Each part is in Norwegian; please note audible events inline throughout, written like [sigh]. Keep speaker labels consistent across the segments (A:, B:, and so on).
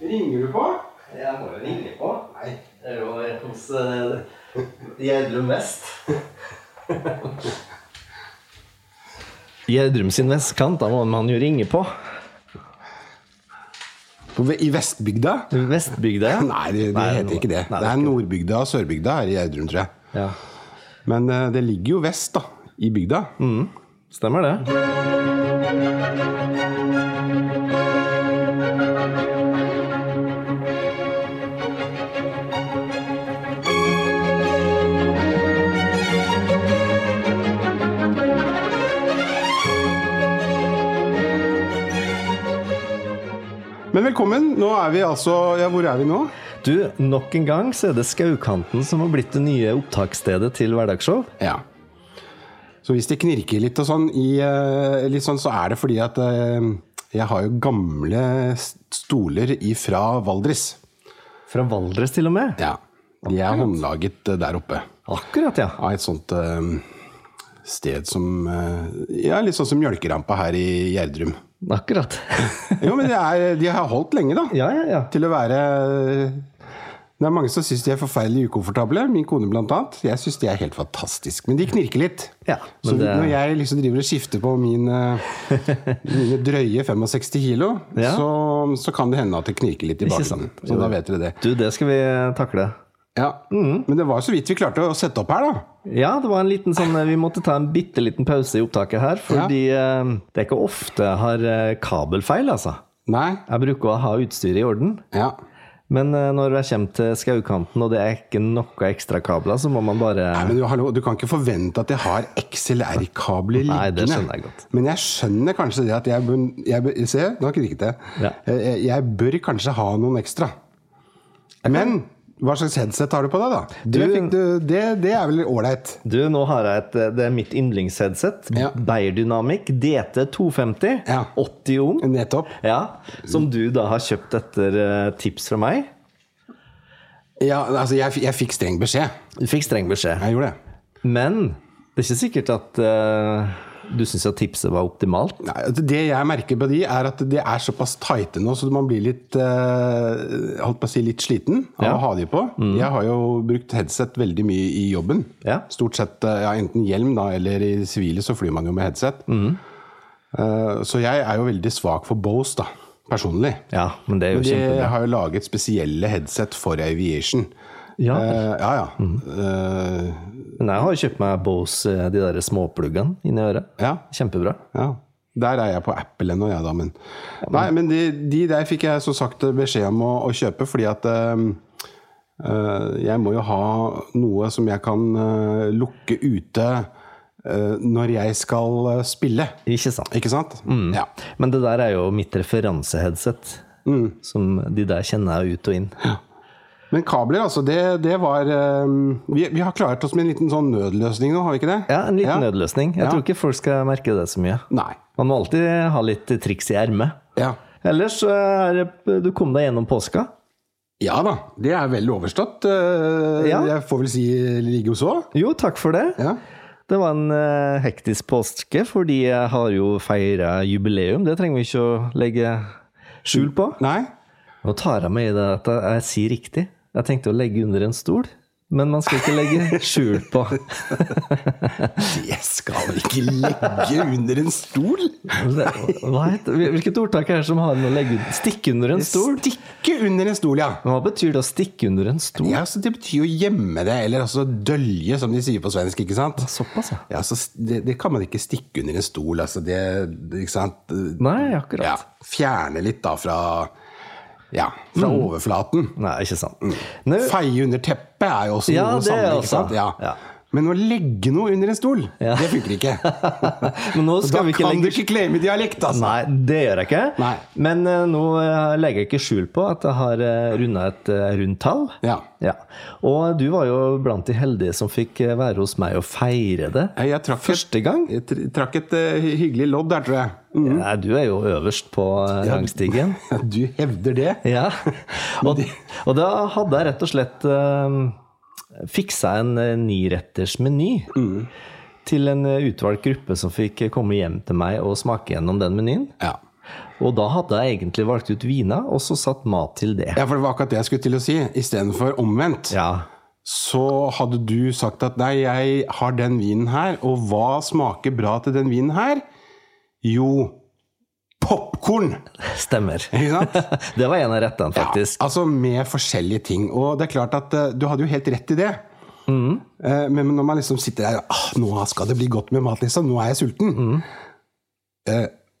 A: Ringer du på?
B: Jeg må jo ringe på.
A: Nei.
B: Det er jo hos eh, de Gjerdrum [laughs] Vest. Gjerdrum sin vestkant, da må man jo ringe på.
A: På, ve- I Vestbygda?
B: Vestbygda, ja.
A: Nei, det, det
B: Nei, det
A: heter
B: må-
A: ikke det.
B: nei, det
A: det
B: er
A: er Nordbygda og Sørbygda her i Gjerdrum, tror jeg.
B: ja.
A: Men eh, det ligger jo vest, da. I bygda.
B: Stemmer det.
A: Men velkommen. Nå er vi altså Ja, hvor er vi nå?
B: Du, nok en gang så er det Skaukanten som har blitt det nye opptaksstedet til hverdagsshow.
A: Ja. Så hvis det knirker litt og sånn, i, eh, litt sånn så er det fordi at eh, jeg har jo gamle s- stoler ifra Valdres.
B: Fra Valdres til og med.
A: Ja. De er håndlaget eh, der oppe.
B: Akkurat, ja.
A: Av et sånt eh, sted som eh, Ja, litt sånn som mjølkerampa her i Gjerdrum.
B: Akkurat. [laughs]
A: Jo, men det er, de har holdt lenge, da.
B: ja, ja, ja.
A: Til å være Det er mange som syns de er forferdelig ukomfortable. Min kone blant annet. Jeg syns de er helt fantastisk. Men de knirker litt.
B: Ja,
A: Så
B: men det-
A: når jeg liksom driver og skifter på mine, mine drøye 65 kilo,
B: Ja.
A: så, så kan det hende at det knirker litt i
B: Ikke
A: bakgrunnen.
B: sant.
A: Så da vet dere det.
B: Du, det skal vi takle.
A: Ja.
B: Mm.
A: Men det var så vidt vi klarte å sette opp her, da.
B: Ja, det var en liten sånn Vi måtte ta en bitte liten pause i opptaket her, fordi eh, det er ikke ofte jeg har eh, kabelfeil, altså.
A: Nei.
B: Jeg bruker å ha utstyret i orden.
A: Ja.
B: Men eh, når jeg kommer til skaukanten, og det er ikke noe ekstra kabler, så må man bare
A: Nei, men du, hallo, du kan ikke forvente at jeg har XLR-kabler liggende.
B: Nei, det skjønner jeg godt.
A: Men jeg skjønner kanskje det at jeg bør, jeg bør Se, nå knirket det.
B: Ja.
A: Jeg, Eh, jeg bør kanskje ha noen ekstra. Men hva slags headset har du på deg, da? det,
B: Du-
A: fikk du, det, det er vel ålreit?
B: Du, nå har jeg et eh, Det er mitt yndlingsheadset.
A: Ja.
B: Beyer Dynamic DT250.
A: Ja.
B: 80 ohm.
A: Nettopp.
B: Ja, Som du da har kjøpt etter eh, tips fra meg.
A: Ja, altså, jeg, f- jeg fikk streng beskjed.
B: Du fikk streng beskjed.
A: Jeg gjorde det.
B: Men det er ikke sikkert at eh, du syns at tipset var optimalt.
A: Nei, altså, det jeg merker på de, er at de er såpass tighte nå, så man blir litt eh, Holdt på å si litt sliten av
B: Ja. Mm.
A: å ha de på. Jeg har jo brukt headset veldig mye i jobben.
B: Ja.
A: Stort sett eh, ja, enten hjelm da, eller i det sivile så flyr man jo med headset.
B: Mm.
A: Eh, Så jeg er jo veldig svak for Bose, da, personlig.
B: ja, men det er jo
A: De
B: kjempebra.
A: har jo laget spesielle headset for aviation.
B: Ja,
A: Eh, ja, ja. Eh,
B: men jeg har jo kjøpt meg Bose, eh, de der småpluggene inni øret.
A: ja.
B: Kjempebra.
A: ja. Der er jeg på Apple ennå, jeg, da. Men, nei, men de, de der fikk jeg som sagt beskjed om å, å kjøpe, fordi at eh, eh, jeg må jo ha noe som jeg kan eh, lukke ute eh, når jeg skal eh, spille.
B: Ikke sant.
A: Ikke sant?
B: Mm.
A: Ja.
B: Men det der er jo mitt referanseheadset.
A: Mm.
B: Som de der kjenner jeg ut og inn.
A: Men kabler, altså, det, det var ehm, vi, vi har klaret oss med en liten sånn nødløsning nå, har vi ikke det?
B: Ja, En liten
A: Ja.
B: nødløsning. Jeg
A: Ja.
B: tror ikke folk skal merke det så mye.
A: Nei.
B: Man må alltid ha litt triks i ermet.
A: Ja.
B: Ellers så er det Du kom deg gjennom påska.
A: ja da, det er vel overstått. eh,
B: Ja.
A: Jeg får vel si like og så.
B: Jo, takk for det.
A: Ja.
B: Det var en eh, hektisk påske, fordi jeg har jo feira jubileum. Det trenger vi ikke å legge skjul på.
A: Nei?
B: Nå tar jeg meg i det at jeg, jeg sier riktig. Jeg tenkte å legge under en stol, men man skal ikke
A: [laughs]
B: legge skjul på.
A: Det skal vi ikke legge under en stol!
B: Hva heter, hvilket ordtak er det som har med å legge under? Stikke under en stol?
A: Stikke under en stol, ja.
B: Men Hva betyr det å stikke under en stol?
A: ja så det betyr jo gjemme det, eller altså dølje, som de sier på svensk, ikke sant?
B: Såpass, ja.
A: Ja, så s- det, det kan man ikke stikke under en stol, altså det, det Ikke sant?
B: Nei, akkurat.
A: Ja, fjerne litt da fra Ja, fra
B: Mm.
A: overflaten.
B: Nei, ikke sant.
A: Mm.
B: Nå,
A: Feie under teppet er jo også
B: Ja,
A: noe
B: det er
A: samme,
B: også.
A: ikke sant? Ja.
B: Ja.
A: Men å legge noe under en stol, det funker ikke.
B: [laughs] men nå
A: Da
B: skal vi ikke
A: kan
B: legge
A: du ikke claime dialekt, altså!
B: Nei, det gjør jeg ikke.
A: Nei.
B: Men eh, nå eh, legger jeg ikke skjul på at jeg har runda et eh, rundt tall.
A: Ja.
B: Ja. Og du var jo blant de heldige som fikk eh, være hos meg og feire det.
A: Jeg, jeg trakk et,
B: Første gang.
A: jeg tr- trakk et eh, hy- hyggelig lodd der, tror jeg. Mm.
B: Nei, du er jo øverst på eh,
A: [laughs]
B: rangstigen.
A: Du hevder det?
B: Ja. [laughs] Og, og da hadde jeg rett og slett eh, fiksa en eh, niretters meny.
A: Mm.
B: Til en eh, utvalgt gruppe som fikk eh, komme hjem til meg og smake gjennom den menyen.
A: Ja.
B: Og da hadde jeg egentlig valgt ut viner, og så satt mat til det.
A: Ja, for det var akkurat det jeg skulle til å si. Istedenfor omvendt.
B: Ja.
A: Så hadde du sagt at nei, jeg har den vinen her, og hva smaker bra til den vinen her? Jo, popkorn!
B: Stemmer. [laughs]
A: Ikke [laughs] sant?
B: Det var en av rettene, faktisk.
A: Altså med forskjellige ting. Og det er klart at eh, du hadde jo helt rett i det. Eh, men når man liksom sitter der ah, 'Nå skal det bli godt med mat, liksom. Nå er jeg sulten.' Å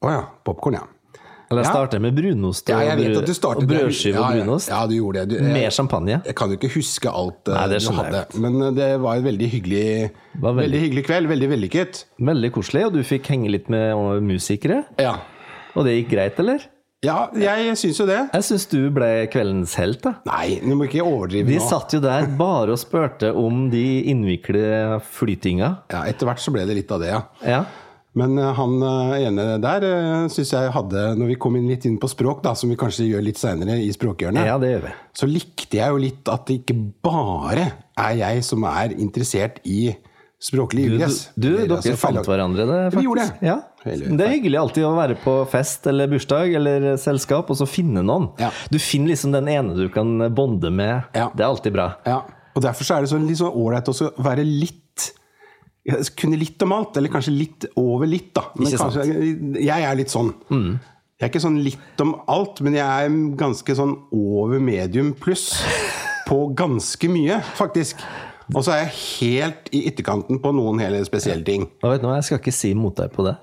A: ja. Popkorn, ja.
B: Eller jeg
A: Ja.
B: starter med brunost
A: ja.
B: og,
A: Jeg vet
B: brød-
A: at du startet
B: og brødskive
A: Ja,
B: og
A: ja,
B: brunost.
A: Ja, du gjorde det. Du, jeg,
B: Mer champagne.
A: jeg kan jo ikke huske alt eh,
B: Nei, det
A: du
B: skjønner
A: hadde.
B: jeg
A: Men eh, det var en veldig hyggelig,
B: var
A: veldig...
B: veldig-
A: hyggelig kveld. Veldig vellykket.
B: Veldig koselig. Og du fikk henge litt med eh, musikere.
A: Ja.
B: Og det gikk greit, eller?
A: ja, jeg syns jo det.
B: Jeg syns du ble kveldens helt, da.
A: Nei, du må ikke overdrive
B: De
A: nå.
B: satt jo der bare og spurte om de innvikle flytinga.
A: Ja, etter hvert så ble det litt av det, ja.
B: Ja.
A: Men eh, han eh, ene der eh, syns jeg hadde Når vi kom inn litt inn på språk, da, som vi kanskje gjør litt seinere i språkhjørnet,
B: ja, det gjør vi.
A: så likte jeg jo litt at det ikke bare er jeg som er interessert i språklig
B: Du,
A: ugress.
B: du,
A: Det er
B: dere
A: altså feil-
B: fant hverandre, det, faktisk.
A: gjorde det.
B: Ja.
A: Veldig
B: Det er hyggelig alltid å være på fest eller bursdag eller selskap, og så finne noen.
A: Ja.
B: Du finner liksom den ene du kan bonde med.
A: Ja.
B: Det er alltid bra.
A: Ja. Og derfor så er det så litt sånn ålreit også å være litt ja, Kunne litt om alt, eller kanskje litt over litt, da. Men
B: Ikke sant.
A: kanskje, jeg er litt sånn. Jeg er ikke sånn litt om alt, men jeg er ganske sånn over medium pluss på ganske mye, faktisk. Og så er jeg helt i ytterkanten på noen hele spesielle ting.
B: Og vet du hva, Jeg skal ikke si mot deg på det.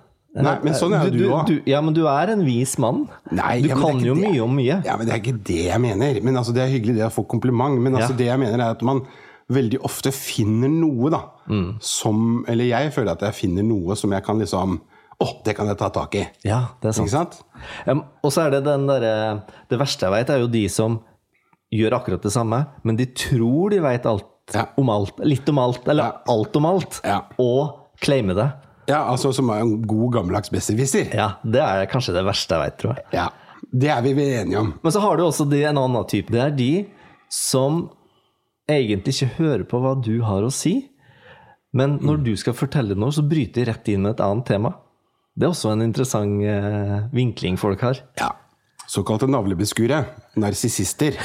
A: Nei, men sånn er jo du òg.
B: Ja, men du er en vis mann.
A: Nei,
B: du
A: ja, men det er
B: kan
A: ikke
B: jo
A: det.
B: mye om mye.
A: Ja, men Det er ikke det jeg mener. Men altså, Det er hyggelig det å få kompliment, men altså,
B: Ja.
A: det jeg mener er at man veldig ofte finner noe da,
B: Mm.
A: som Eller jeg føler at jeg finner noe som jeg kan liksom Å, det kan jeg ta tak i!
B: Ja, det er sant.
A: Ikke sant?
B: Em, og så er det den derre Det verste jeg vet, er jo de som gjør akkurat det samme, men de tror de vet alt
A: Ja.
B: om alt. Litt om alt, eller alt om alt.
A: Ja.
B: Og claime det.
A: Ja, altså Som er en god, gammeldags besserwisser.
B: Ja, det er kanskje det verste jeg vet, tror jeg.
A: Ja. Det er vi vel enige om.
B: Men så har du også de, en annen type. Det er de som egentlig ikke hører på hva du har å si, men når
A: Mm.
B: du skal fortelle noe, så bryter de rett inn med et annet tema. Det er også en interessant eh, vinkling folk har. [laughs]
A: Ja. Såkalte navlebeskuere. Narsissister.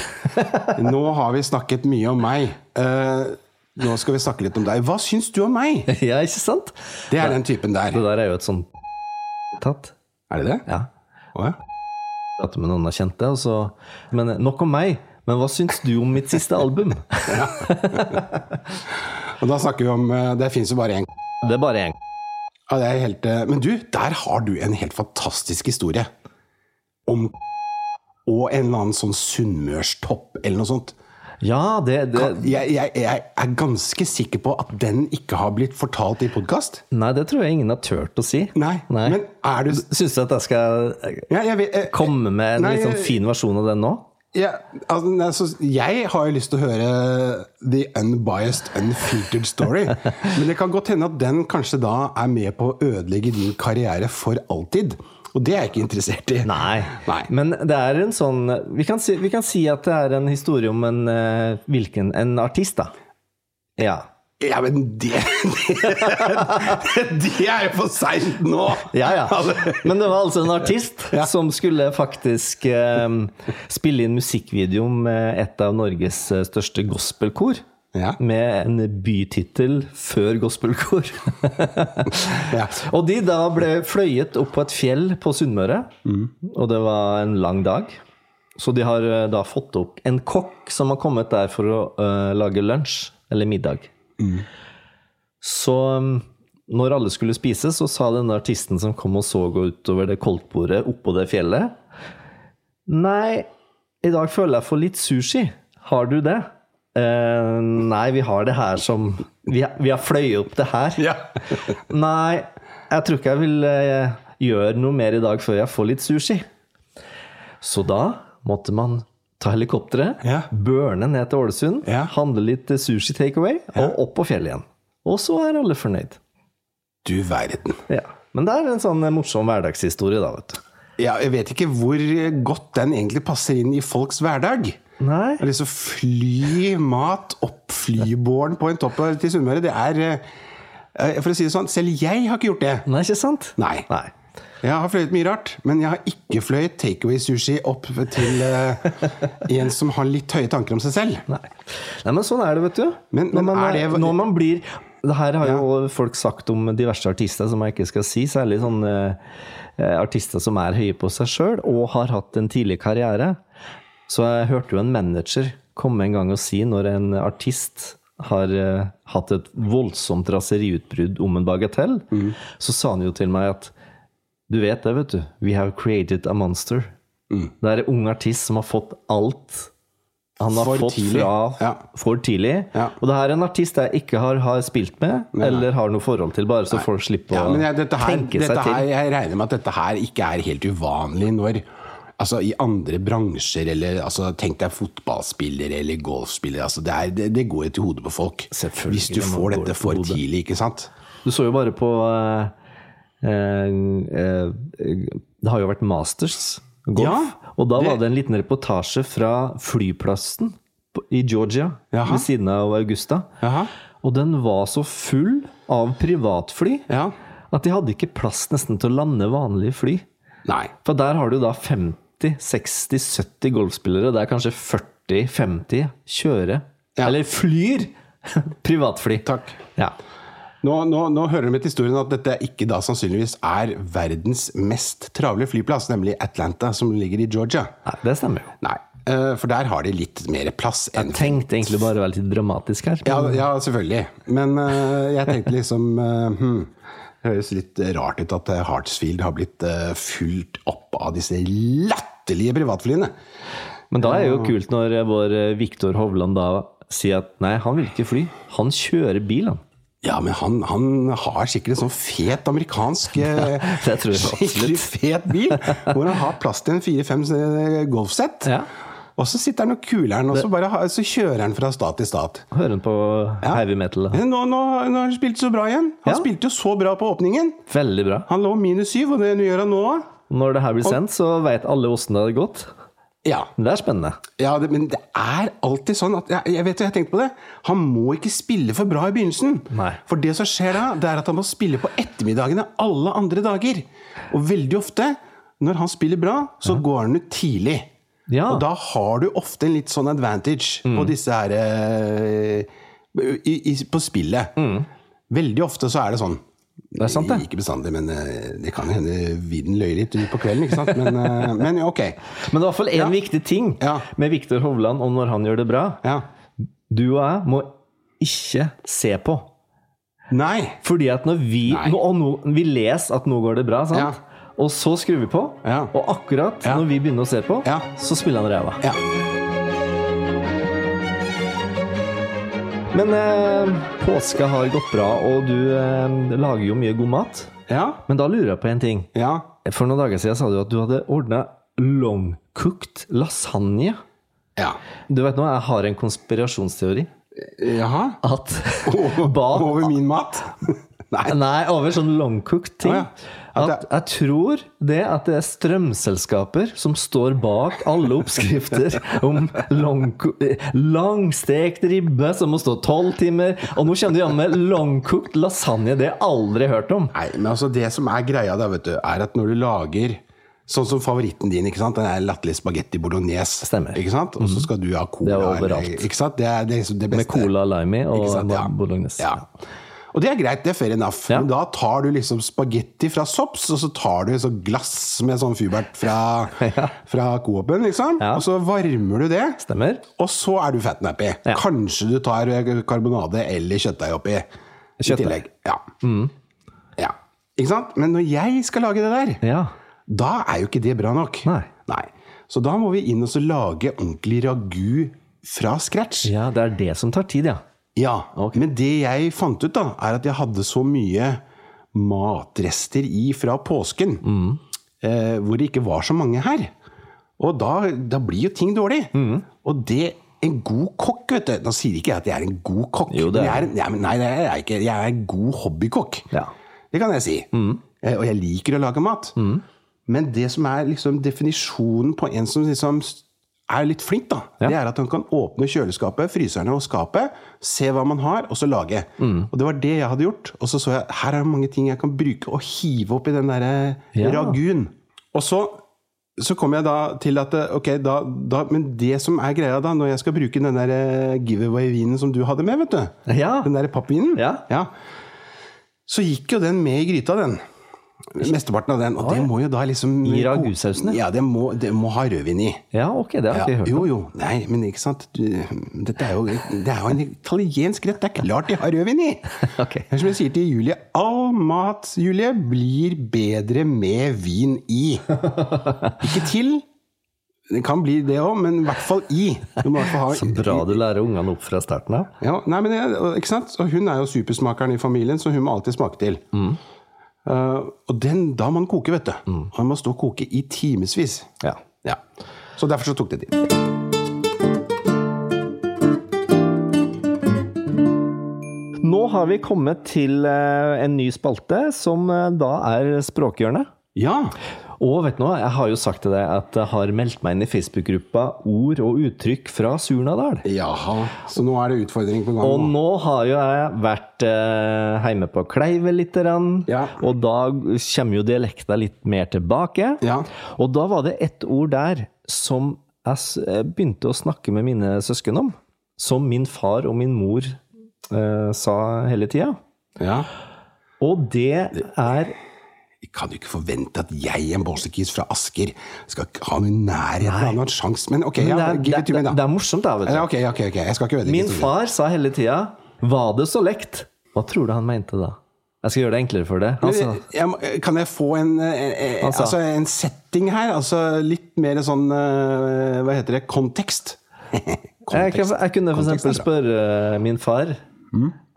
A: Nå har vi snakket mye om meg. Eh, nå skal vi snakke litt om deg. Hva syns du om meg?
B: ja, ikke sant?
A: Det er den typen der.
B: Det der er jo et sånn tatt.
A: Er det det?
B: Ja.
A: Å, ja.
B: Prate med noen jeg kjente, og så Men eh, nok om meg. Men hva syns du om mitt siste album?
A: Og da snakker vi om eh, Det fins jo bare én
B: Det er bare én.
A: ja, det er helt, eh, Men du, der har du en helt fantastisk historie. Om og en eller annen sånn sunnmørstopp eller noe sånt.
B: Ja, det, det
A: Jeg, jeg, jeg er ganske sikker på at den ikke har blitt fortalt i podkast.
B: Nei, det tror jeg ingen har turt å si.
A: Nei.
B: Nei.
A: Men er du
B: Syns du at jeg skal
A: ja, jeg, vet- eh,
B: komme med en
A: Nei,
B: litt sånn
A: jeg-
B: fin versjon av den nå?
A: ja, altså, nei, så jeg har jo lyst til å høre The Unbiased Unfiltered Story. Men det kan godt hende at den kanskje da er med på å ødelegge din karriere for alltid. Og det er jeg ikke interessert i.
B: Nei.
A: Nei.
B: Men det er en sånn vi kan, si, vi kan si at det er en historie om en eh, hvilken En artist, da. Ja.
A: Ja, men det Det er jo for seint nå!
B: Ja, ja. Men det var altså en artist som skulle faktisk eh, spille inn musikkvideo med et av Norges eh, største gospelkor.
A: Ja.
B: Med en bytittel før gospelkor. [laughs]
A: Ja.
B: og de da ble fløyet opp på et fjell på Sunnmøre, og det var en lang dag. Så de har eh, da fått opp en kokk som har kommet der for å eh, lage lunsj eller middag. Så um, når alle skulle spise, så sa denne artisten som kom og så utover det koldtbordet oppå det fjellet Nei, i dag føler jeg for litt sushi. Har du det? «Eh, nei, vi har det her som Vi, har- vi har fløyet opp det her.
A: Ja.
B: [laughs] Nei, jeg tror ikke jeg vil eh, gjøre noe mer i dag før jeg får litt sushi. Så da måtte man ta helikopteret,
A: Ja.
B: børne ned til Ålesund,
A: Ja.
B: handle litt eh, sushi takeaway, og opp på fjellet igjen. Og så er alle fornøyd.
A: Du verden.
B: Ja. Men det er en sånn eh, morsom hverdagshistorie, da, vet du.
A: Ja, jeg vet ikke hvor godt den egentlig passer inn i folks hverdag.
B: Nei.
A: Å Liksom fly mat opp flybåren på en topp til Sunnmøre, det er eh, eh, For å si det sånn, selv jeg har ikke gjort det.
B: Nei, ikke sant?
A: Nei.
B: Nei.
A: Jeg har fløyet mye rart, men jeg har ikke fløyet takeaway-sushi opp til eh, en som har litt høye tanker om seg selv.
B: Nei. Nei, men sånn er det, vet du.
A: Men-
B: når,
A: men
B: man,
A: er det-
B: når man blir Det her har jo folk sagt om diverse artister som jeg ikke skal si, særlig sånne eh, artister som er høye på seg sjøl og har hatt en tidlig karriere. Så jeg hørte jo en manager komme en gang og si når en artist har eh, hatt et voldsomt raseriutbrudd om en bagatell,
A: Mm.
B: så sa han jo til meg at du vet det, vet du. We have created a monster.
A: Mm.
B: Det er en ung artist som har fått alt han har
A: For
B: fått
A: tidlig.
B: fra
A: Ja.
B: for tidlig.
A: Ja.
B: Og det her er en artist jeg ikke har, har spilt med, eller har noe forhold til, bare så folk slipper
A: Ja,
B: å
A: men jeg, dette her,
B: tenke
A: dette
B: seg
A: her,
B: til.
A: jeg regner med at dette her ikke er helt uvanlig når Altså I andre bransjer, eller altså, tenk deg fotballspillere eller golfspillere. Altså, det, er, det, det går jo til hodet på folk.
B: Selvfølgelig,
A: Hvis du
B: det må
A: får
B: gå
A: dette
B: til
A: for
B: hodet.
A: tidlig, ikke sant.
B: Du så jo bare på eh, eh, eh, Det har jo vært Masters golf,
A: Ja,
B: og da
A: det-
B: var det en liten reportasje fra flyplassen på- i Georgia
A: Jaha.
B: ved siden av Augusta.
A: Jaha.
B: Og den var så full av privatfly
A: Ja.
B: at de hadde ikke plass nesten til å lande vanlige fly.
A: Nei.
B: For der har du da 50, 60, 70 golfspillere. Det er kanskje 40, 50 kjøre.
A: Ja.
B: Eller flyr! [laughs] Privatfly.
A: Takk.
B: Ja.
A: Nå, nå, nå hører du med til historien at dette ikke da sannsynligvis er verdens mest travle flyplass, nemlig Atlanta, som ligger i Georgia.
B: Nei, det stemmer jo.
A: Nei, eh, for der har de litt mer plass enn
B: Tenkte egentlig bare å være litt dramatisk her.
A: Ja, ja selvfølgelig. Men eh, jeg tenkte liksom eh, hmm, Det høres litt rart ut at eh, Hartsfield har blitt eh, fylt opp av disse latterlige privatflyene.
B: Men da er det jo kult når eh, vår Viktor Hovland da sier at nei, han vil ikke fly. Han kjører bil, han.
A: Ja, men han, han har sikkert en sånn fet amerikansk
B: [laughs]
A: eh,
B: Det tror jeg
A: Skikkelig
B: absolutt.
A: fet bil, hvor han har plass til en fire-fem eh, golfsett.
B: Ja.
A: Og så sitter han og kuler den, og så, bare, ha- så kjører han fra stat til stat.
B: Hører han på heavy metal.
A: Men Nå, nå, nå har han spilt så bra igjen. Han
B: Ja.
A: spilte jo så bra på åpningen.
B: Veldig bra.
A: Han lå minus syv, og det gjør han nå òg.
B: Når det her blir sendt, så veit alle åssen det hadde gått.
A: Ja.
B: Men Det er spennende.
A: ja, det, men det er alltid sånn at Jeg, jeg vet jo, jeg har tenkt på det. Han må ikke spille for bra i begynnelsen.
B: Nei.
A: For det som skjer da, det er at han må spille på ettermiddagene alle andre dager. Og veldig ofte, når han spiller bra, så går han ut tidlig.
B: Ja. Mm.
A: Og da har du ofte en litt sånn advantage på disse her eh, i, i, På spillet. Veldig ofte så er det sånn.
B: Mm. Det er sant, det.
A: Ikke bestandig, men eh, det kan hende vinden løy litt på kvelden. ikke sant? Men, eh, [laughs] men ok.
B: Men det er i hvert fall én viktig ting
A: Ja.
B: med Viktor Hovland og når han gjør det bra.
A: Ja.
B: Du og jeg må ikke se på.
A: Nei.
B: Fordi at når vi
A: Nei.
B: nå, Og nå, vi leser at nå går det bra, sant?
A: Ja.
B: Og så skrur vi på.
A: Ja.
B: Og akkurat
A: Ja.
B: når vi begynner å se på,
A: Ja.
B: så spiller han ræva.
A: Ja.
B: Men eh, påska har gått bra, og du eh, lager jo mye god mat.
A: Ja.
B: Men da lurer jeg på en ting.
A: ja.
B: For noen dager siden sa du at du hadde ordna longcooked lasagne.
A: ja.
B: Du vet nå, jeg har en konspirasjonsteori.
A: [laughs] Jaha?
B: At
A: Oh.
B: [laughs] bak
A: Over min mat? Nei.
B: Nei, over sånn longcooked ting.
A: Å, ja.
B: At jeg tror det at det er strømselskaper som står bak alle oppskrifter
A: [laughs]
B: om longco- eh, langstekt ribbe som må stå tolv timer. Og nå kjenner du igjen med longcooked lasagne. Det har jeg aldri hørt om.
A: [laughs] Nei, men altså det som er greia da, vet du, er at når du lager Sånn som favoritten din, ikke sant? den er latterlig spagetti bolognese.
B: Stemmer. Mhm.
A: Ikke sant? Og så skal du ha cola.
B: Det er overalt.
A: eller- Ikke sant? Det er det, er liksom det beste.
B: Med cola lime i og
A: Ikke sant? Ja.
B: bolognese.
A: Ja. Og det er greit, det er fair enough.
B: Ja.
A: Men da tar du liksom spagetti fra Sops, og så tar du så glass med sånn Fubert fra,
B: [laughs]
A: fra Coop-en, liksom.
B: Ja.
A: Og så varmer du det.
B: Stemmer?
A: Og så er du fatnappy.
B: Ja.
A: Kanskje du tar karbonade eller kjøttdeig oppi. i
B: Kjøttdeig. Mm.
A: tillegg. Ja. ja. Ikke sant? Men når jeg skal lage det der,
B: Ja.
A: da er jo ikke det bra nok.
B: Nei.
A: Så da må vi inn og så lage ordentlig ragu fra scratch.
B: ja, det er det som tar tid, ja.
A: Ja, men det jeg fant ut da, er at jeg hadde så mye matrester i fra påsken,
B: Mm.
A: eh, hvor det ikke var så mange her. Og da, da blir jo ting dårlig.
B: Mm.
A: Og det en god kokk, vet du Nå sier ikke jeg at jeg er en god kokk.
B: Jo, det er
A: men jeg er, en- ja, men nei, det er jeg ikke. Jeg er en god hobbykokk.
B: Ja. Mm.
A: Det kan jeg si. Eh, og jeg liker å lage mat. Men det som er liksom definisjonen på en som liksom er litt flink, da, det er at hun kan åpne kjøleskapet, fryserne og skapet, se hva man har, og så lage.
B: Mm.
A: Og det var det jeg hadde gjort. Og så så jeg her er det mange ting jeg kan bruke og hive opp i den derre
B: Ja.
A: ragun. Og så, så kom jeg da til at eh, ok, da, da, Men det som er greia da, når jeg skal bruke den der eh, giveaway-vinen som du hadde med, vet du
B: Ja.
A: den der pappvinen,
B: Ah. Ja.
A: så gikk jo den med i gryta, den. Mesteparten av den. Og det må jo da liksom
B: I ragusausene?
A: Ja, det må, det må ha rødvin i.
B: Ja, ok, det har jeg ikke hørt.
A: Jo, jo. Nei, men ikke sant. Du, dette er jo, det er jo en italiensk rett. Det er klart de har rødvin i!
B: [laughs] Ok.
A: Det er som jeg sier til Julie. All mat, Julie, blir bedre med vin i. Ikke til. Det kan bli det òg, men i hvert fall i. Du må i hvert fall ha
B: [laughs] Så bra du lærer ungene opp fra starten av.
A: ja, nei, men jeg, og- ikke sant? Og hun er jo supersmakeren i familien, så hun må alltid smake til.
B: Mm.
A: Eh, og den da man koker, vet du. Og man må stå og koke i timevis.
B: Ja.
A: Ja. Så derfor så tok det tid.
B: Nå har vi kommet til eh, en ny spalte, som eh, da er Språkhjørnet.
A: Ja!
B: Og vet du noe, jeg har jo sagt til deg at jeg har meldt meg inn i Facebook-gruppa Ord og uttrykk fra Surnadal.
A: Jaha. Så nå er det utfordring på
B: Og
A: gang.
B: nå har jo jeg vært eh, hjemme på Kleive litt, grann,
A: Ja.
B: og da kommer jo dialekta litt mer tilbake.
A: Ja.
B: Og da var det ett ord der som jeg s- eh, begynte å snakke med mine søsken om, som min far og min mor eh, sa hele tida.
A: ja.
B: Og det er
A: Jeg kan jo ikke forvente at jeg, en bolsekis fra Asker, skal ikke ha noen nærhet av noen sjanse. Men ok, ja,
B: det,
A: give
B: er-
A: it to me,
B: det,
A: da.
B: er- det er morsomt, da, vet du.
A: Ja, ok, ok, ok, jeg skal ikke ødelegge
B: Min
A: historien.
B: far sa hele tida 'Var det så lekt?' Hva tror du han mente da? Jeg skal gjøre det enklere for deg. Han sa,
A: jeg, må- kan jeg få en, eh, eh,
B: Altså-
A: altså, en setting her? Altså litt mer sånn eh, Hva heter det? Kontekst?
B: [laughs] jeg, kan-
A: Kontekst.
B: jeg kunne for
A: Kontekst er Mm.
B: eksempel spørre min far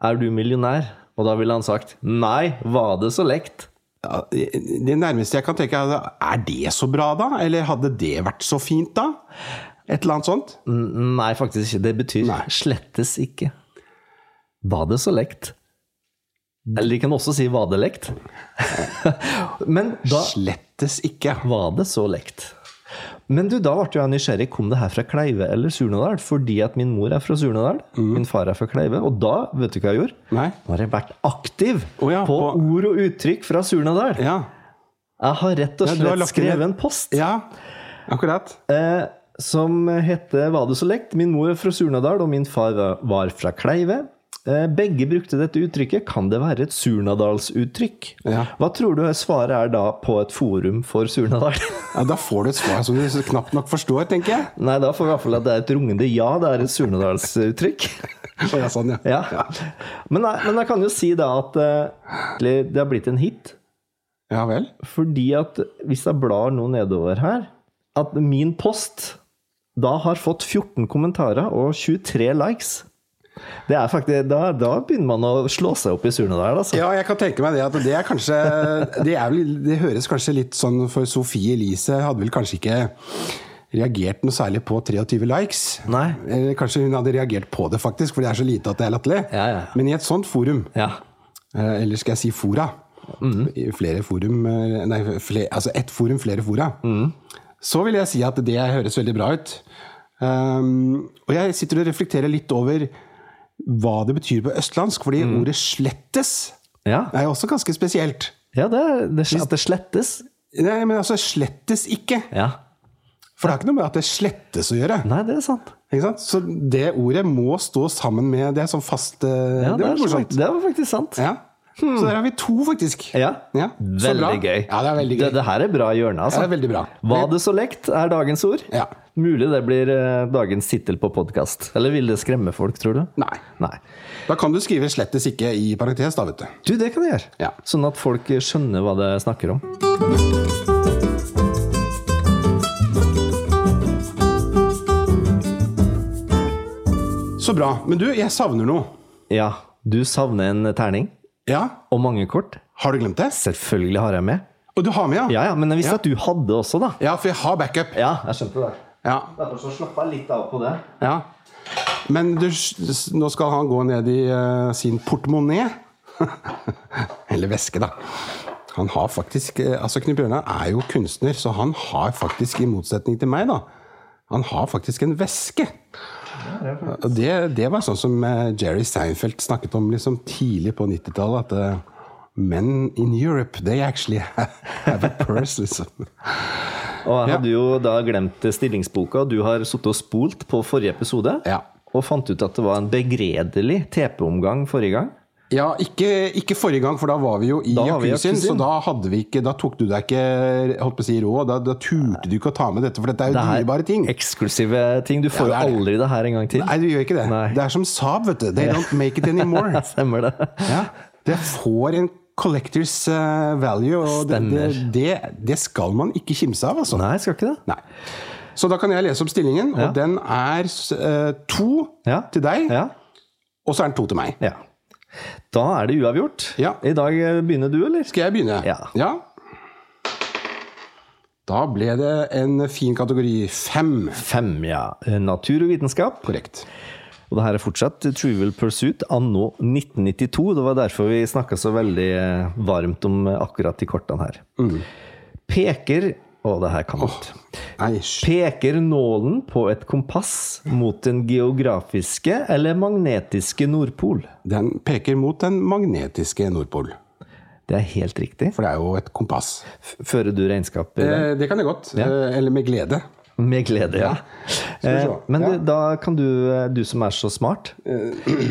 B: Er du millionær? Og da ville han sagt 'Nei, var det så lekt?'
A: Ja, Det nærmeste jeg kan tenke, er er det så bra, da? Eller hadde det vært så fint, da? Et eller annet sånt?
B: N- Nei, faktisk ikke. Det betyr
A: Nei.
B: slettes ikke. Var det så lekt? Eller de kan også si 'var det lekt'? [laughs] Men da
A: Slettes ikke.
B: var det så lekt. Men du, da ble jo jeg nysgjerrig. Kom det her fra Kleive eller Surnadal? Fordi at min mor er fra Surnadal,
A: Mm.
B: min far er fra Kleive. Og da, vet du hva jeg gjorde?
A: Nei.
B: Nå har jeg vært aktiv
A: Å ja,
B: på,
A: på-
B: ord og uttrykk fra Surnadal.
A: Ja.
B: Jeg har rett og
A: Ja, du
B: slett
A: har lagt inn
B: skrevet
A: et-
B: en post
A: ja. Akkurat.
B: eh, som heter 'Var det så lekt?' Min mor er fra Surnadal, og min far var- var fra Kleive. Eh, begge brukte dette uttrykket. Kan det være et surnadalsuttrykk?
A: Ja.
B: Hva tror du svaret er da på et forum for Surnadal? [laughs]
A: Ja, da får du et svar som du knapt nok forstår, tenker jeg.
B: Nei, da får vi i hvert fall at det er et rungende ja. Det er et surnadalsuttrykk. [laughs]
A: Å, ja, sånn, ja.
B: Ja. Men, jeg, men jeg kan jo si da at eh, det har blitt en hit.
A: ja vel.
B: Fordi at hvis jeg blar nå nedover her At min post da har fått 14 kommentarer og 23 likes. Det er faktisk, da, da begynner man å slå seg opp i Surnadal, altså.
A: Ja, jeg kan tenke meg det. At det er kanskje Det, er vel, det høres kanskje litt sånn For Sofie Elise hadde vel kanskje ikke reagert noe særlig på 23 likes.
B: Nei.
A: Eller kanskje hun hadde reagert på det, faktisk, for det er så lite at det er latterlig.
B: Ja, ja.
A: Men i et sånt forum,
B: Ja.
A: eh, eller skal jeg si fora
B: Mhm.
A: I Flere forum eh, Nei, fle- altså ett forum, flere fora.
B: Mhm.
A: Så vil jeg si at det høres veldig bra ut. Um, og jeg sitter og reflekterer litt over hva det betyr på østlandsk, fordi
B: Mhm.
A: ordet 'slettes'
B: Ja,
A: er jo også ganske spesielt.
B: ja det, det, at det slettes.
A: Nei, men altså slettes ikke.
B: Ja.
A: For det har ikke noe med at det slettes å gjøre.
B: Nei, det er sant.
A: Ikke sant? Så det ordet må stå sammen med det som fast eh,
B: Ja,
A: Det var
B: er sant.
A: morsomt.
B: det var faktisk sant.
A: Ja. Så der har vi to, faktisk.
B: Ja.
A: Ja, så bra.
B: Veldig gøy.
A: Ja, det er veldig gøy.
B: Det, det her er bra hjørne,
A: Ja,
B: altså.
A: det er veldig bra.
B: Var det så lekt, er dagens ord.
A: Ja.
B: Mulig det blir eh, dagens tittel på podkast. Eller vil det skremme folk, tror du?
A: Nei.
B: Nei.
A: Da kan du skrive 'slettes ikke' i parentes, da, vet du.
B: Du, det kan jeg gjøre.
A: Ja.
B: Sånn at folk skjønner hva det snakker om.
A: Så bra. Men du, jeg savner noe.
B: Ja, du savner en terning.
A: Ja?
B: Og mange kort.
A: Har du glemt det?
B: Selvfølgelig har jeg med.
A: Og du har med, ja?
B: Ja, ja, men jeg visste at du hadde også, da.
A: Ja, for jeg har backup.
B: Ja, jeg skjønte det.
A: Ja.
B: Derfor så slappa jeg litt av på det.
A: ja. Men du, nå skal han gå ned i eh, sin portemonné. [laughs] Eller veske, da. Han har faktisk eh, Altså, Knut Bjørnar er jo kunstner, så han har faktisk, i motsetning til meg, da Han har faktisk en veske! Og det, det var sånn som eh, Jerry Seinfeld snakket om liksom tidlig på 90-tallet. At eh, men in Europe, they actually [laughs] have a purse, liksom.
B: Og jeg hadde jo da glemt stillingsboka, og du har sittet og spolt på forrige episode.
A: Ja.
B: Og fant ut at det var en begredelig TP-omgang forrige gang.
A: Ja, ikke, ikke forrige gang, for da var vi jo i
B: Da var vi i
A: jacuzzien.
B: jacuzzien.
A: Så da, hadde vi ikke, da tok du deg ikke holdt på å si, råd. Da, da turte du ikke å ta med dette, for dette er jo
B: Det her-
A: dyrebare ting.
B: Eksklusive ting. Du får jo
A: Ja, det er det.
B: aldri det her en gang til.
A: Nei, du gjør ikke det.
B: Nei.
A: Det er som Saab, vet du. They don't make it anymore.
B: [laughs] [laughs] Stemmer det.
A: Ja, det får en collectors eh, value, og det, det, det, det skal man ikke kimse av, altså.
B: Nei, skal ikke det.
A: Nei. Så da kan jeg lese opp stillingen, og den er eh, to
B: Ja.
A: til deg,
B: Ja.
A: og så er den to til meg.
B: ja. Da er det uavgjort.
A: Ja.
B: I dag eh, begynner du, eller?
A: Skal jeg begynne?
B: Ja.
A: Da ble det en fin kategori. Fem.
B: Fem, ja. Eh, Natur og vitenskap.
A: Korrekt.
B: Og det her er fortsatt Trivial Pursuit anno 1992. Det var derfor vi snakka så veldig eh, varmt om eh, akkurat de kortene her.
A: Mm.
B: Peker Å, det her kan man ikke.
A: Nei, sj-
B: Peker nålen på et kompass mot den geografiske eller magnetiske Nordpol?
A: den peker mot den magnetiske Nordpol.
B: Det er helt riktig.
A: For det er jo et kompass.
B: F- Fører du regnskap? i det?
A: Eh, det kan jeg godt. Eh, eller med glede.
B: Med glede, ja.
A: vi se.
B: Eh, Men
A: Ja.
B: du, da kan du, eh, du som er så smart,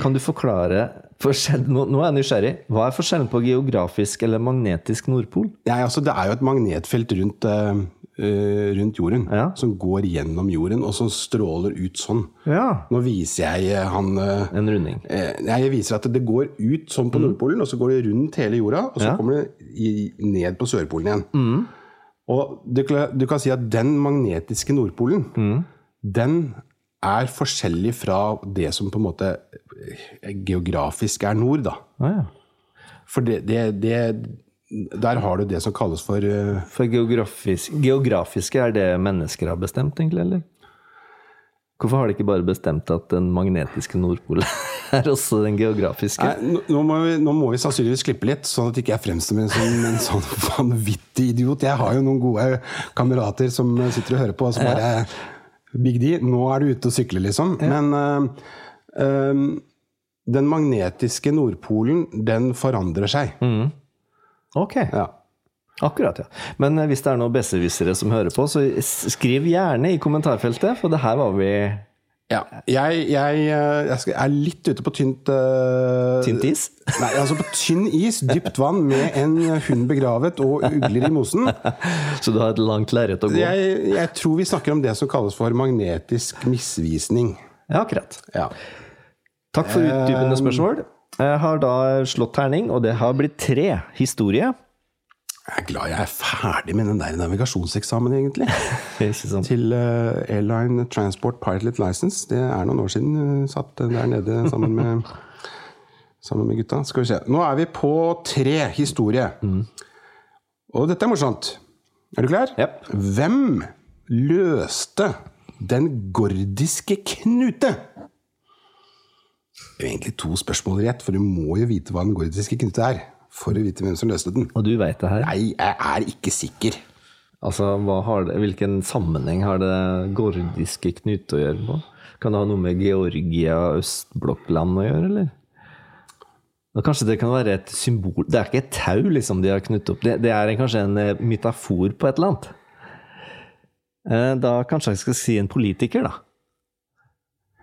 B: kan du forklare forskjell, nå, nå er jeg nysgjerrig. Hva er forskjellen på geografisk eller magnetisk Nordpol?
A: Nei, altså Det er jo et magnetfelt rundt, eh, eh, rundt jorden
B: Ja.
A: som går gjennom jorden, og som stråler ut sånn.
B: Ja.
A: Nå viser jeg eh, han eh,
B: En runding.
A: eh, nei, Jeg viser at det går ut sånn på Nordpolen, og så går det rundt hele jorda, og så
B: Ja.
A: kommer det i, ned på Sørpolen igjen. Og du, kan- du kan si at den magnetiske Nordpolen, den er forskjellig fra det som på en måte eh, geografisk er nord, da.
B: Ah, ja.
A: For det, det, det Der har du det som kalles for eh,
B: For geografisk, geografiske, er det mennesker har bestemt, egentlig? eller? Hvorfor har de ikke bare bestemt at den magnetiske Nordpolen [laughs] er også den geografiske?
A: Nei, nå- nå, må vi, nå må vi sannsynligvis klippe litt, sånn at ikke jeg fremstår som en, en sånn [laughs] vanvittig idiot. Jeg har jo noen gode kamerater som sitter og hører på, og som bare Big D, nå er du ute og sykler, liksom. Men eh, eh, den magnetiske Nordpolen, den forandrer seg.
B: Ok,
A: Ja.
B: akkurat, ja. Men eh, hvis det er noen besserwissere som hører på, så s- skriv gjerne i kommentarfeltet, for det her var vi
A: ja. Jeg, jeg, eh, jeg skal, er litt ute på tynt eh,
B: tynt is.
A: Nei, altså på tynn is, dypt vann, med en hund begravet og ugler i
B: [laughs]
A: mosen.
B: Så du har et langt lerret å gå.
A: Jeg, jeg tror vi snakker om det som kalles for magnetisk misvisning.
B: Ja, akkurat.
A: Ja.
B: Takk for utdypende spørsmål. Jeg har da slått terning, og det har blitt tre historie.
A: Jeg er glad jeg er ferdig med den der navigasjonseksamen, egentlig.
B: Ikke sant?
A: Til eh, Airline Transport Pilot License. Det er noen år siden eh, satt den der nede [laughs] sammen med, sammen med gutta. Skal vi se. Nå er vi på tre historie. Og dette er morsomt. Er du klar?
B: Jep.
A: Hvem løste den gordiske knute? Det er jo egentlig to spørsmål i ett, for du må jo vite hva den gordiske knute er. For å vite hvem som løste den.
B: Og du veit det her.
A: Nei, jeg er ikke sikker.
B: Altså, hva har det, Hvilken sammenheng har det gordiske knute å gjøre på? Kan det ha noe med Georgia og østblokkland å gjøre, eller? Og kanskje det kan være et symbol Det er ikke et tau liksom, de har knyttet opp. Det, det er en- kanskje en eh, metafor på et eller annet. Eh, Da kanskje jeg skal si en politiker, da.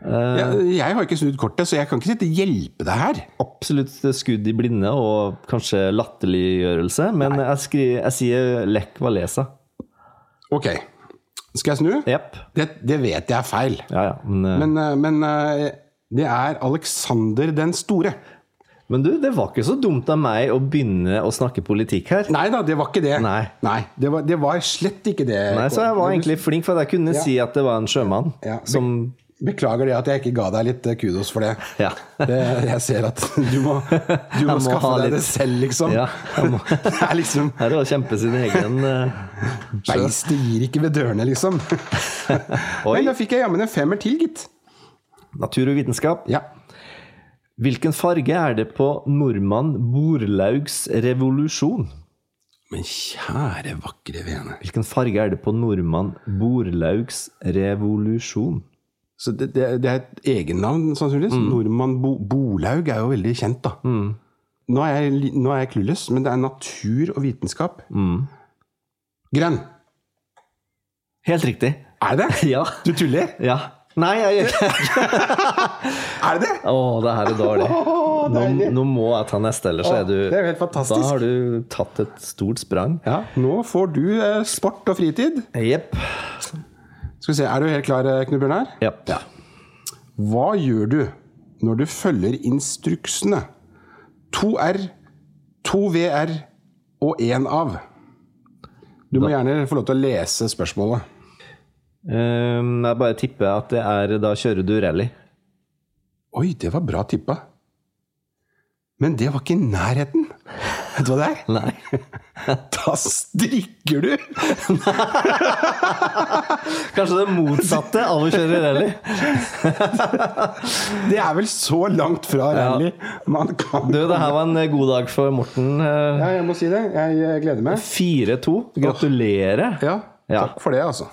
A: Jeg,
B: Eh.
A: jeg har ikke snudd kortet, så jeg kan ikke sitte og hjelpe deg her.
B: Absolutt skudd i blinde og kanskje latterliggjørelse, men jeg, skri, jeg sier Lech Walesa.
A: Ok, skal jeg snu?
B: Jepp.
A: Det, det vet jeg er feil.
B: Ja, ja. Men, eh,
A: Men, eh, men eh, det er Alexander den store.
B: Men du, det var ikke så dumt av meg å begynne å snakke politikk her.
A: Nei da, det var ikke det.
B: Nei.
A: det, var, det var slett ikke det.
B: Nei, Så jeg var egentlig flink, for jeg kunne si at det var en sjømann
A: Ja.
B: som
A: Beklager det at jeg ikke ga deg litt eh, kudos for det.
B: Ja.
A: det jeg ser at du må,
B: [laughs]
A: du må,
B: må
A: skaffe
B: ha
A: deg
B: litt-
A: det selv, liksom.
B: Ja, jeg må-
A: [laughs] det er liksom
B: Her er å kjempe sin egen eh,
A: Beistet gir ikke ved dørene, liksom.
B: Oi.
A: Men da fikk jeg jammen en femmer til, gitt.
B: natur og vitenskap.
A: Ja.
B: Hvilken farge er det på nordmann Borlaugs revolusjon?
A: Men kjære, vakre vene.
B: Hvilken farge er det på nordmann Borlaugs revolusjon?
A: Så det, det, det er et egennavn, sannsynligvis. Nordmann Bo Bolaug er jo veldig kjent, da. Nå er jeg, li- nå er jeg clueless, men det er natur og vitenskap. Grønn!
B: Helt riktig.
A: Er det det?
B: [laughs] Ja.
A: Du tuller?
B: ja. Nei, jeg gjør ikke det.
A: Er det det?
B: Å, det her er dårlig.
A: Åh,
B: Nå,
A: deilig.
B: nå må jeg ta neste, ellers
A: Åh,
B: er du
A: det er jo helt fantastisk.
B: Da har du tatt et stort sprang.
A: Ja, nå får du eh, sport og fritid.
B: Jepp.
A: Skal vi se, Er du helt klar, eh, Knut Bjørnar?
B: Jepp.
A: Hva gjør du når du følger instruksene? 2R, 2VR og 1 av. Du må gjerne få lov til å lese spørsmålet.
B: Ehm, jeg bare tipper at det er Da kjører du rally.
A: Oi, det var bra tippa. Men det var ikke i nærheten. Vet du hva det er?
B: Nei.
A: Da strikker du!
B: [laughs] Kanskje det motsatte av å kjøre rally.
A: Det er vel så langt fra rally man kan
B: Du, det her var en god dag for Morten. Eh,
A: Ja, jeg må si det. Jeg eh, gleder meg.
B: 4-2. Gratulerer.
A: Ja,
B: Ja.
A: takk for det, altså.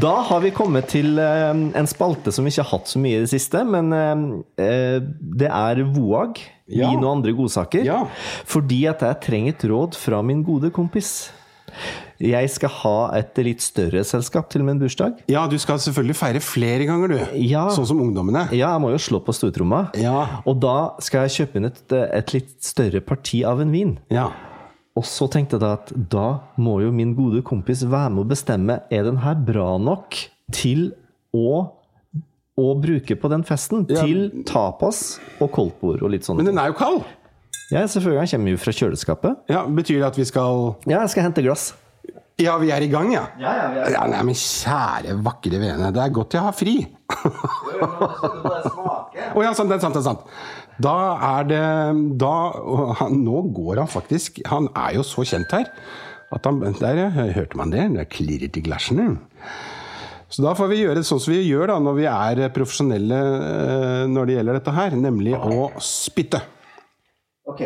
B: Da har vi kommet til eh, en spalte som vi ikke har hatt så mye i det siste, men eh, eh, det er VOAG.
A: Ja.
B: Vin og andre godsaker.
A: Ja.
B: Fordi at jeg trenger et råd fra min gode kompis. Jeg skal ha et litt større selskap til min bursdag.
A: Ja, du skal selvfølgelig feire flere ganger, du.
B: Ja.
A: Sånn som ungdommene.
B: Ja, jeg må jo slå på stortromma.
A: Ja.
B: Og da skal jeg kjøpe inn et, et litt større parti av en vin.
A: Ja.
B: Og så tenkte jeg da at da må jo min gode kompis være med å bestemme er den her bra nok til å, å bruke på den festen.
A: Ja.
B: Til tapas og koldtbord og litt sånn.
A: Men den er jo kald!
B: Ja, selvfølgelig. Han kommer jo fra kjøleskapet.
A: Ja, Betyr det at vi skal
B: Ja, jeg skal hente glass.
A: Ja, vi er i gang, ja?
B: ja, ja.
A: Ja, nei, men kjære, vakre vene. Det er godt jeg har fri. Å ja, sant, det er sant, det er sant. Da er det Da og han, Nå går han faktisk Han er jo så kjent her at han Der ja, hørte man det. Det klirret i glassene. Så da får vi gjøre sånn som vi gjør da når vi er profesjonelle eh, når det gjelder dette her, nemlig å spytte.
B: Ok,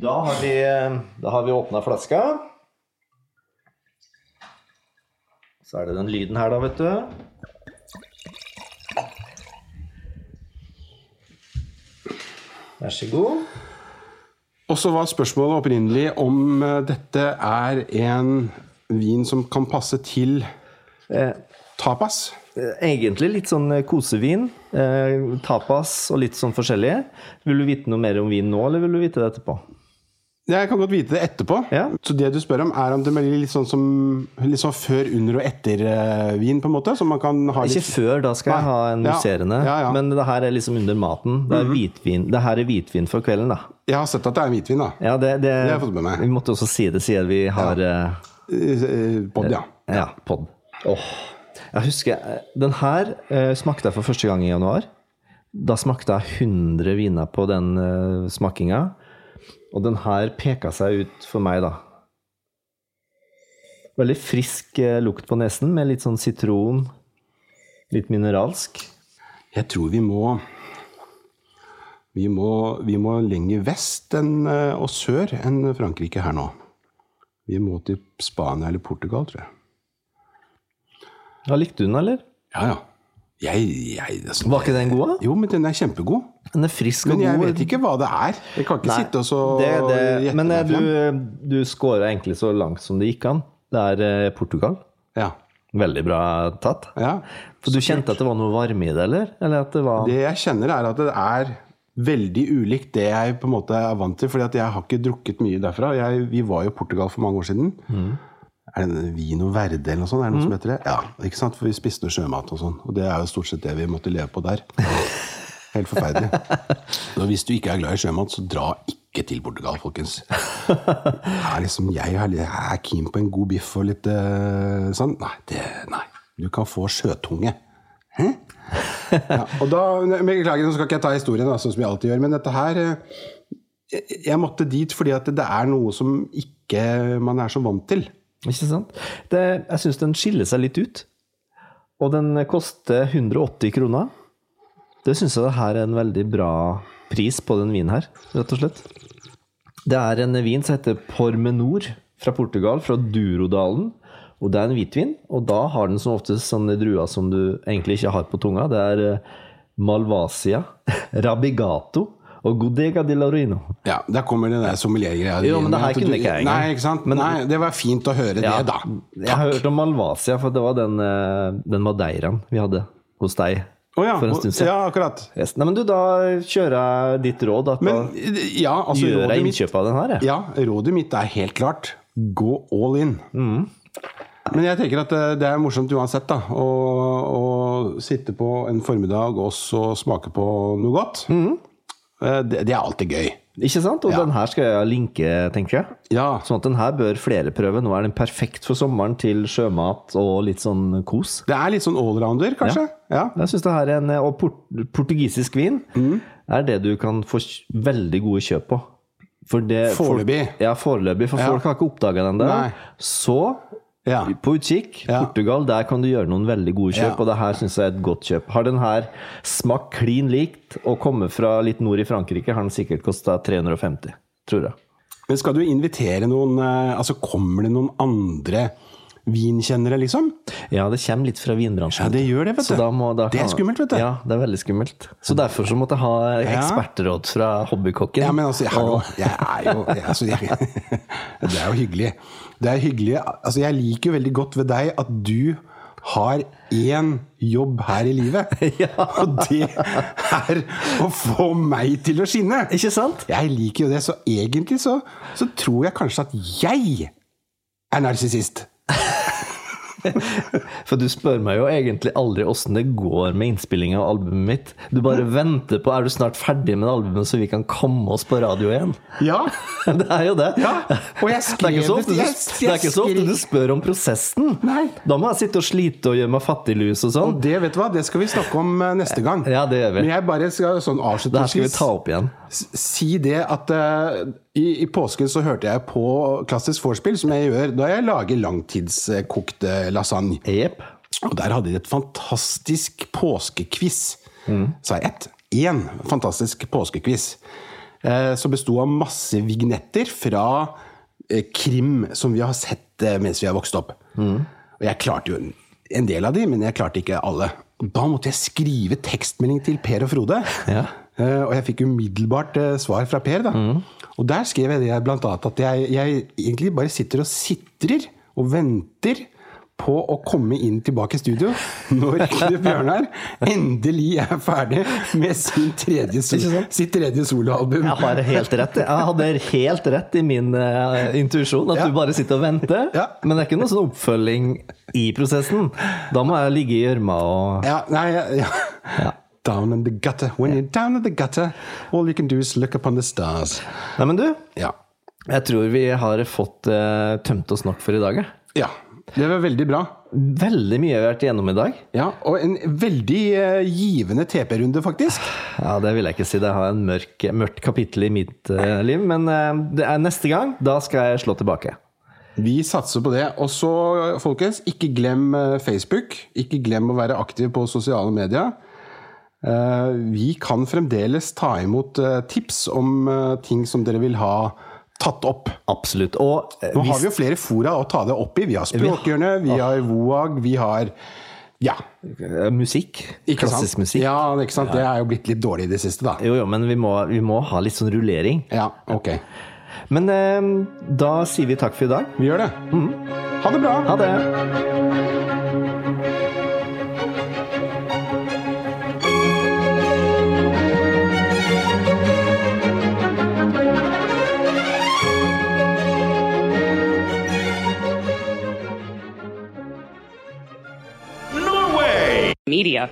B: da har vi, da har vi åpna flaska. Så er det den lyden her, da, vet du. Vær så god.
A: Og så var spørsmålet opprinnelig om eh, dette er en vin som kan passe til
B: Eh,
A: tapas.
B: Egentlig litt sånn kosevin. Eh, tapas og litt sånn forskjellige. Vil du vite noe mer om vin nå, eller vil du vite det etterpå?
A: Jeg kan godt vite det etterpå.
B: Ja.
A: Så det du spør om, er om det blir litt sånn som litt sånn før, under og etter eh, vin, på en måte? Så man kan ha
B: Ikke
A: litt
B: før, da skal jeg
A: Nei.
B: ha
A: Ja.
B: en musserende.
A: Ja, Mhm. ja.
B: Men det her er liksom under maten. Det, er hvitvin. det her er hvitvin for kvelden, da.
A: Jeg har sett at det er hvitvin, da.
B: Ja, det, det,
A: har jeg fått med meg.
B: Vi måtte også si det siden vi har eh,
A: Eh, eh, Bob, ja.
B: ja. pod. Åh. Jeg husker eh, Den her eh, smakte jeg for første gang i januar. Da smakte jeg 100 viner på den eh, smakinga. Og den her peka seg ut for meg, da. Veldig frisk eh, lukt på nesen, med litt sånn sitron. Litt mineralsk.
A: Jeg tror vi må vi må, vi må lenger vest enn, eh, og sør enn Frankrike her nå. Vi må til Spania eller Portugal, tror jeg.
B: Ja, Likte du den, eller?
A: Ja, ja. Jeg, jeg det er sånn-
B: Var ikke den god? da?
A: Jo, men den er kjempegod.
B: Den er frisk og
A: Men jeg
B: god.
A: vet ikke hva det er. Jeg kan ikke
B: Nei,
A: sitte og så
B: det, det,
A: gjette
B: Men eh,
A: meg frem.
B: du, du scora egentlig så langt som det gikk an. Det er eh, Portugal.
A: Ja.
B: Veldig bra tatt.
A: ja.
B: For du kjente at det var noe varme i det, eller? Eller at det var
A: Det jeg kjenner, er at det er veldig ulikt det jeg på en måte er vant til. fordi at jeg har ikke drukket mye derfra. Jeg, vi var jo i Portugal for mange år siden. Er det Vino Verde eller noe sånt? Er det noe som heter det? Ja, ikke sant? For vi spiste noe sjømat og sånn. Og det er jo stort sett det vi måtte leve på der. Helt forferdelig. Og hvis du ikke er glad i sjømat, så dra ikke til Portugal, folkens. Det er liksom, jeg er, jeg er keen på en god biff og litt eh, sånn. Nei, det, nei. Du kan få sjøtunge. Ja, og da, men Beklager, nå skal ikke jeg ta historien, da, sånn som jeg alltid gjør. Men dette her eh, Jeg jeg måtte dit fordi at det er noe som ikke man er så vant til.
B: Ikke sant? Det, jeg syns den skiller seg litt ut. Og den koster 180 kroner. Det syns jeg det her er en veldig bra pris på den vinen her, rett og slett. Det er en vin som heter Pormenor fra Portugal, fra Durodalen. Og det er en hvitvin, og da har den som oftest sånne druer som du egentlig ikke har på tunga. Det er eh, Malvasia, [laughs] Rabigato og Godega di Laurino.
A: Ja, Der kommer den der sommeliergreia.
B: Jo, men det
A: At
B: her
A: du-
B: kunne ikke jeg engang.
A: Nei, ikke sant? nei, det var fint å høre det, da.
B: Jeg har hørt om Malvasia, for det var den, eh, den madeiraen vi hadde hos deg
A: Å ja,
B: for en
A: og-
B: stund siden.
A: ja, akkurat.
B: Yes. Nei, men du, da kjører jeg ditt råd. At
A: Men ja,
B: da
A: altså
B: gjør
A: rådet
B: jeg
A: mitt,
B: innkjøp av den her, jeg.
A: ja, rådet mitt er helt klart gå all in. Men jeg tenker at eh, det er morsomt uansett, da. Å, å sitte på en formiddag og så smake på noe godt. Eh, Det, det er alltid gøy.
B: Ikke sant? Og
A: Ja.
B: den her skal jeg linke, tenker jeg.
A: Ja,
B: Sånn at den her bør flere prøve. Nå er den perfekt for sommeren til sjømat og litt sånn kos.
A: Det er litt sånn allrounder, kanskje. Ja.
B: Jeg synes det her er en, eh, Og port, portugisisk vin
A: Mm.
B: er det du kan få kj- veldig gode kjøp på. For det, folk-
A: Foreløpig.
B: Ja, foreløpig. For
A: Ja.
B: folk har ikke oppdaga den der.
A: Nei.
B: Så
A: Ja.
B: på utkikk.
A: Ja.
B: Portugal, der kan du gjøre noen veldig gode
A: Ja.
B: kjøp, og det her syns jeg er et godt kjøp. Har den her smakt klin likt og kommet fra litt nord i Frankrike, har den sikkert kosta 350, tror jeg.
A: Men skal du invitere noen eh, Altså, kommer det noen andre vinkjennere, liksom?
B: Ja, det kommer litt fra vinbransjen.
A: Ja, det gjør det, vet du.
B: Så da må, da
A: Det er
B: kan-
A: skummelt, vet du.
B: Ja, det er veldig skummelt. Så derfor så måtte jeg ha ekspertråd fra hobbykokken.
A: Ja, men altså, jeg, hallo,
B: Og-
A: jeg er jo jeg, altså, jeg, [laughs] Det er jo hyggelig. Det er hyggelig Altså, jeg liker jo veldig godt ved deg at du har én jobb her i livet.
B: [laughs] Ja.
A: Og det er å få meg til å skinne.
B: Ikke sant?
A: Jeg liker jo det, så egentlig så, så tror jeg kanskje at jeg er narsissist.
B: For du spør meg jo egentlig aldri åssen det går med innspillinga av albumet mitt. Du bare venter på Er du snart ferdig med albumet, så vi kan komme oss på radio igjen?
A: Ja.
B: [laughs] Det er jo det.
A: Ja, og jeg skrev
B: [laughs] det er ikke så ofte,
A: det-
B: du-
A: jeg-
B: det er
A: jeg
B: ikke så ofte
A: skrev-
B: du spør om prosessen.
A: Nei.
B: Da må jeg sitte og slite og gjøre meg fattiglus og sånn.
A: Og det vet du hva, det skal vi snakke om eh, neste gang.
B: Ja, det gjør vi.
A: Men jeg bare skal sånn
B: Det her skal vi
A: avslutningsvis
B: ta opp igjen.
A: s- si det at eh, i, i påsken så hørte jeg på klassisk vorspiel, som jeg gjør da jeg lager langtidskokt eh, lasagne.
B: Jepp.
A: Og der hadde de et fantastisk påskequiz. Sa jeg ett? Én fantastisk påskequiz. Eh, som besto av masse vignetter fra eh, krim som vi har sett eh, mens vi har vokst opp. Og jeg klarte jo en- en del av de, men jeg klarte ikke alle. Og Da måtte jeg skrive tekstmelding til Per og Frode.
B: Ja.
A: Eh, og jeg fikk umiddelbart eh, svar fra Per. da. Og der skrev jeg det blant annet at jeg, jeg egentlig bare sitter og sitrer og venter på å komme inn tilbake i studio når Knut Bjørnar endelig er ferdig med sin tredje, sol-
B: Ikke sant?
A: sitt tredje soloalbum.
B: Jeg har helt rett. Jeg hadde helt rett i min eh, intuisjon, at
A: Ja.
B: du bare sitter og venter.
A: Ja.
B: Men det er ikke noe sånn oppfølging i prosessen. Da må jeg ligge i gjørma og
A: Ja, nei, ja, ja. Down in the gutter. When you're down in the gutter, all you can do is look upon the stars.
B: Nei, men du,
A: Ja.
B: jeg tror vi har fått eh, tømt oss nok for i dag. jeg.
A: ja. Det var veldig bra.
B: Veldig mye vi har vært igjennom i dag.
A: Ja, Og en veldig eh, givende TP-runde, faktisk.
B: Ja, det vil jeg ikke si. Det har en mørk, mørkt kapittel i mitt eh, liv. Men eh, det er neste gang, da skal jeg slå tilbake.
A: Vi satser på det. Og så, folkens, ikke glem eh, Facebook. Ikke glem å være aktiv på sosiale medier. Eh, Vi kan fremdeles ta imot eh, tips om eh, ting som dere vil ha tatt opp.
B: Absolutt. Og eh,
A: Nå har
B: hvis
A: vi jo flere fora å ta det opp i. Vi har Språkhjørnet, vi har VOAG, vi har Ja,
B: eh, musikk,
A: ikke
B: klassisk
A: sant?
B: musikk
A: Ja, ikke sant? Det er jo blitt litt dårlig i det siste, da.
B: Jo, jo, men vi må, vi må ha litt sånn rullering.
A: Ja, ok.
B: Men eh, da sier vi takk for i dag.
A: Vi gjør det. Mhm. Ha det bra.
B: Ha det!
C: media.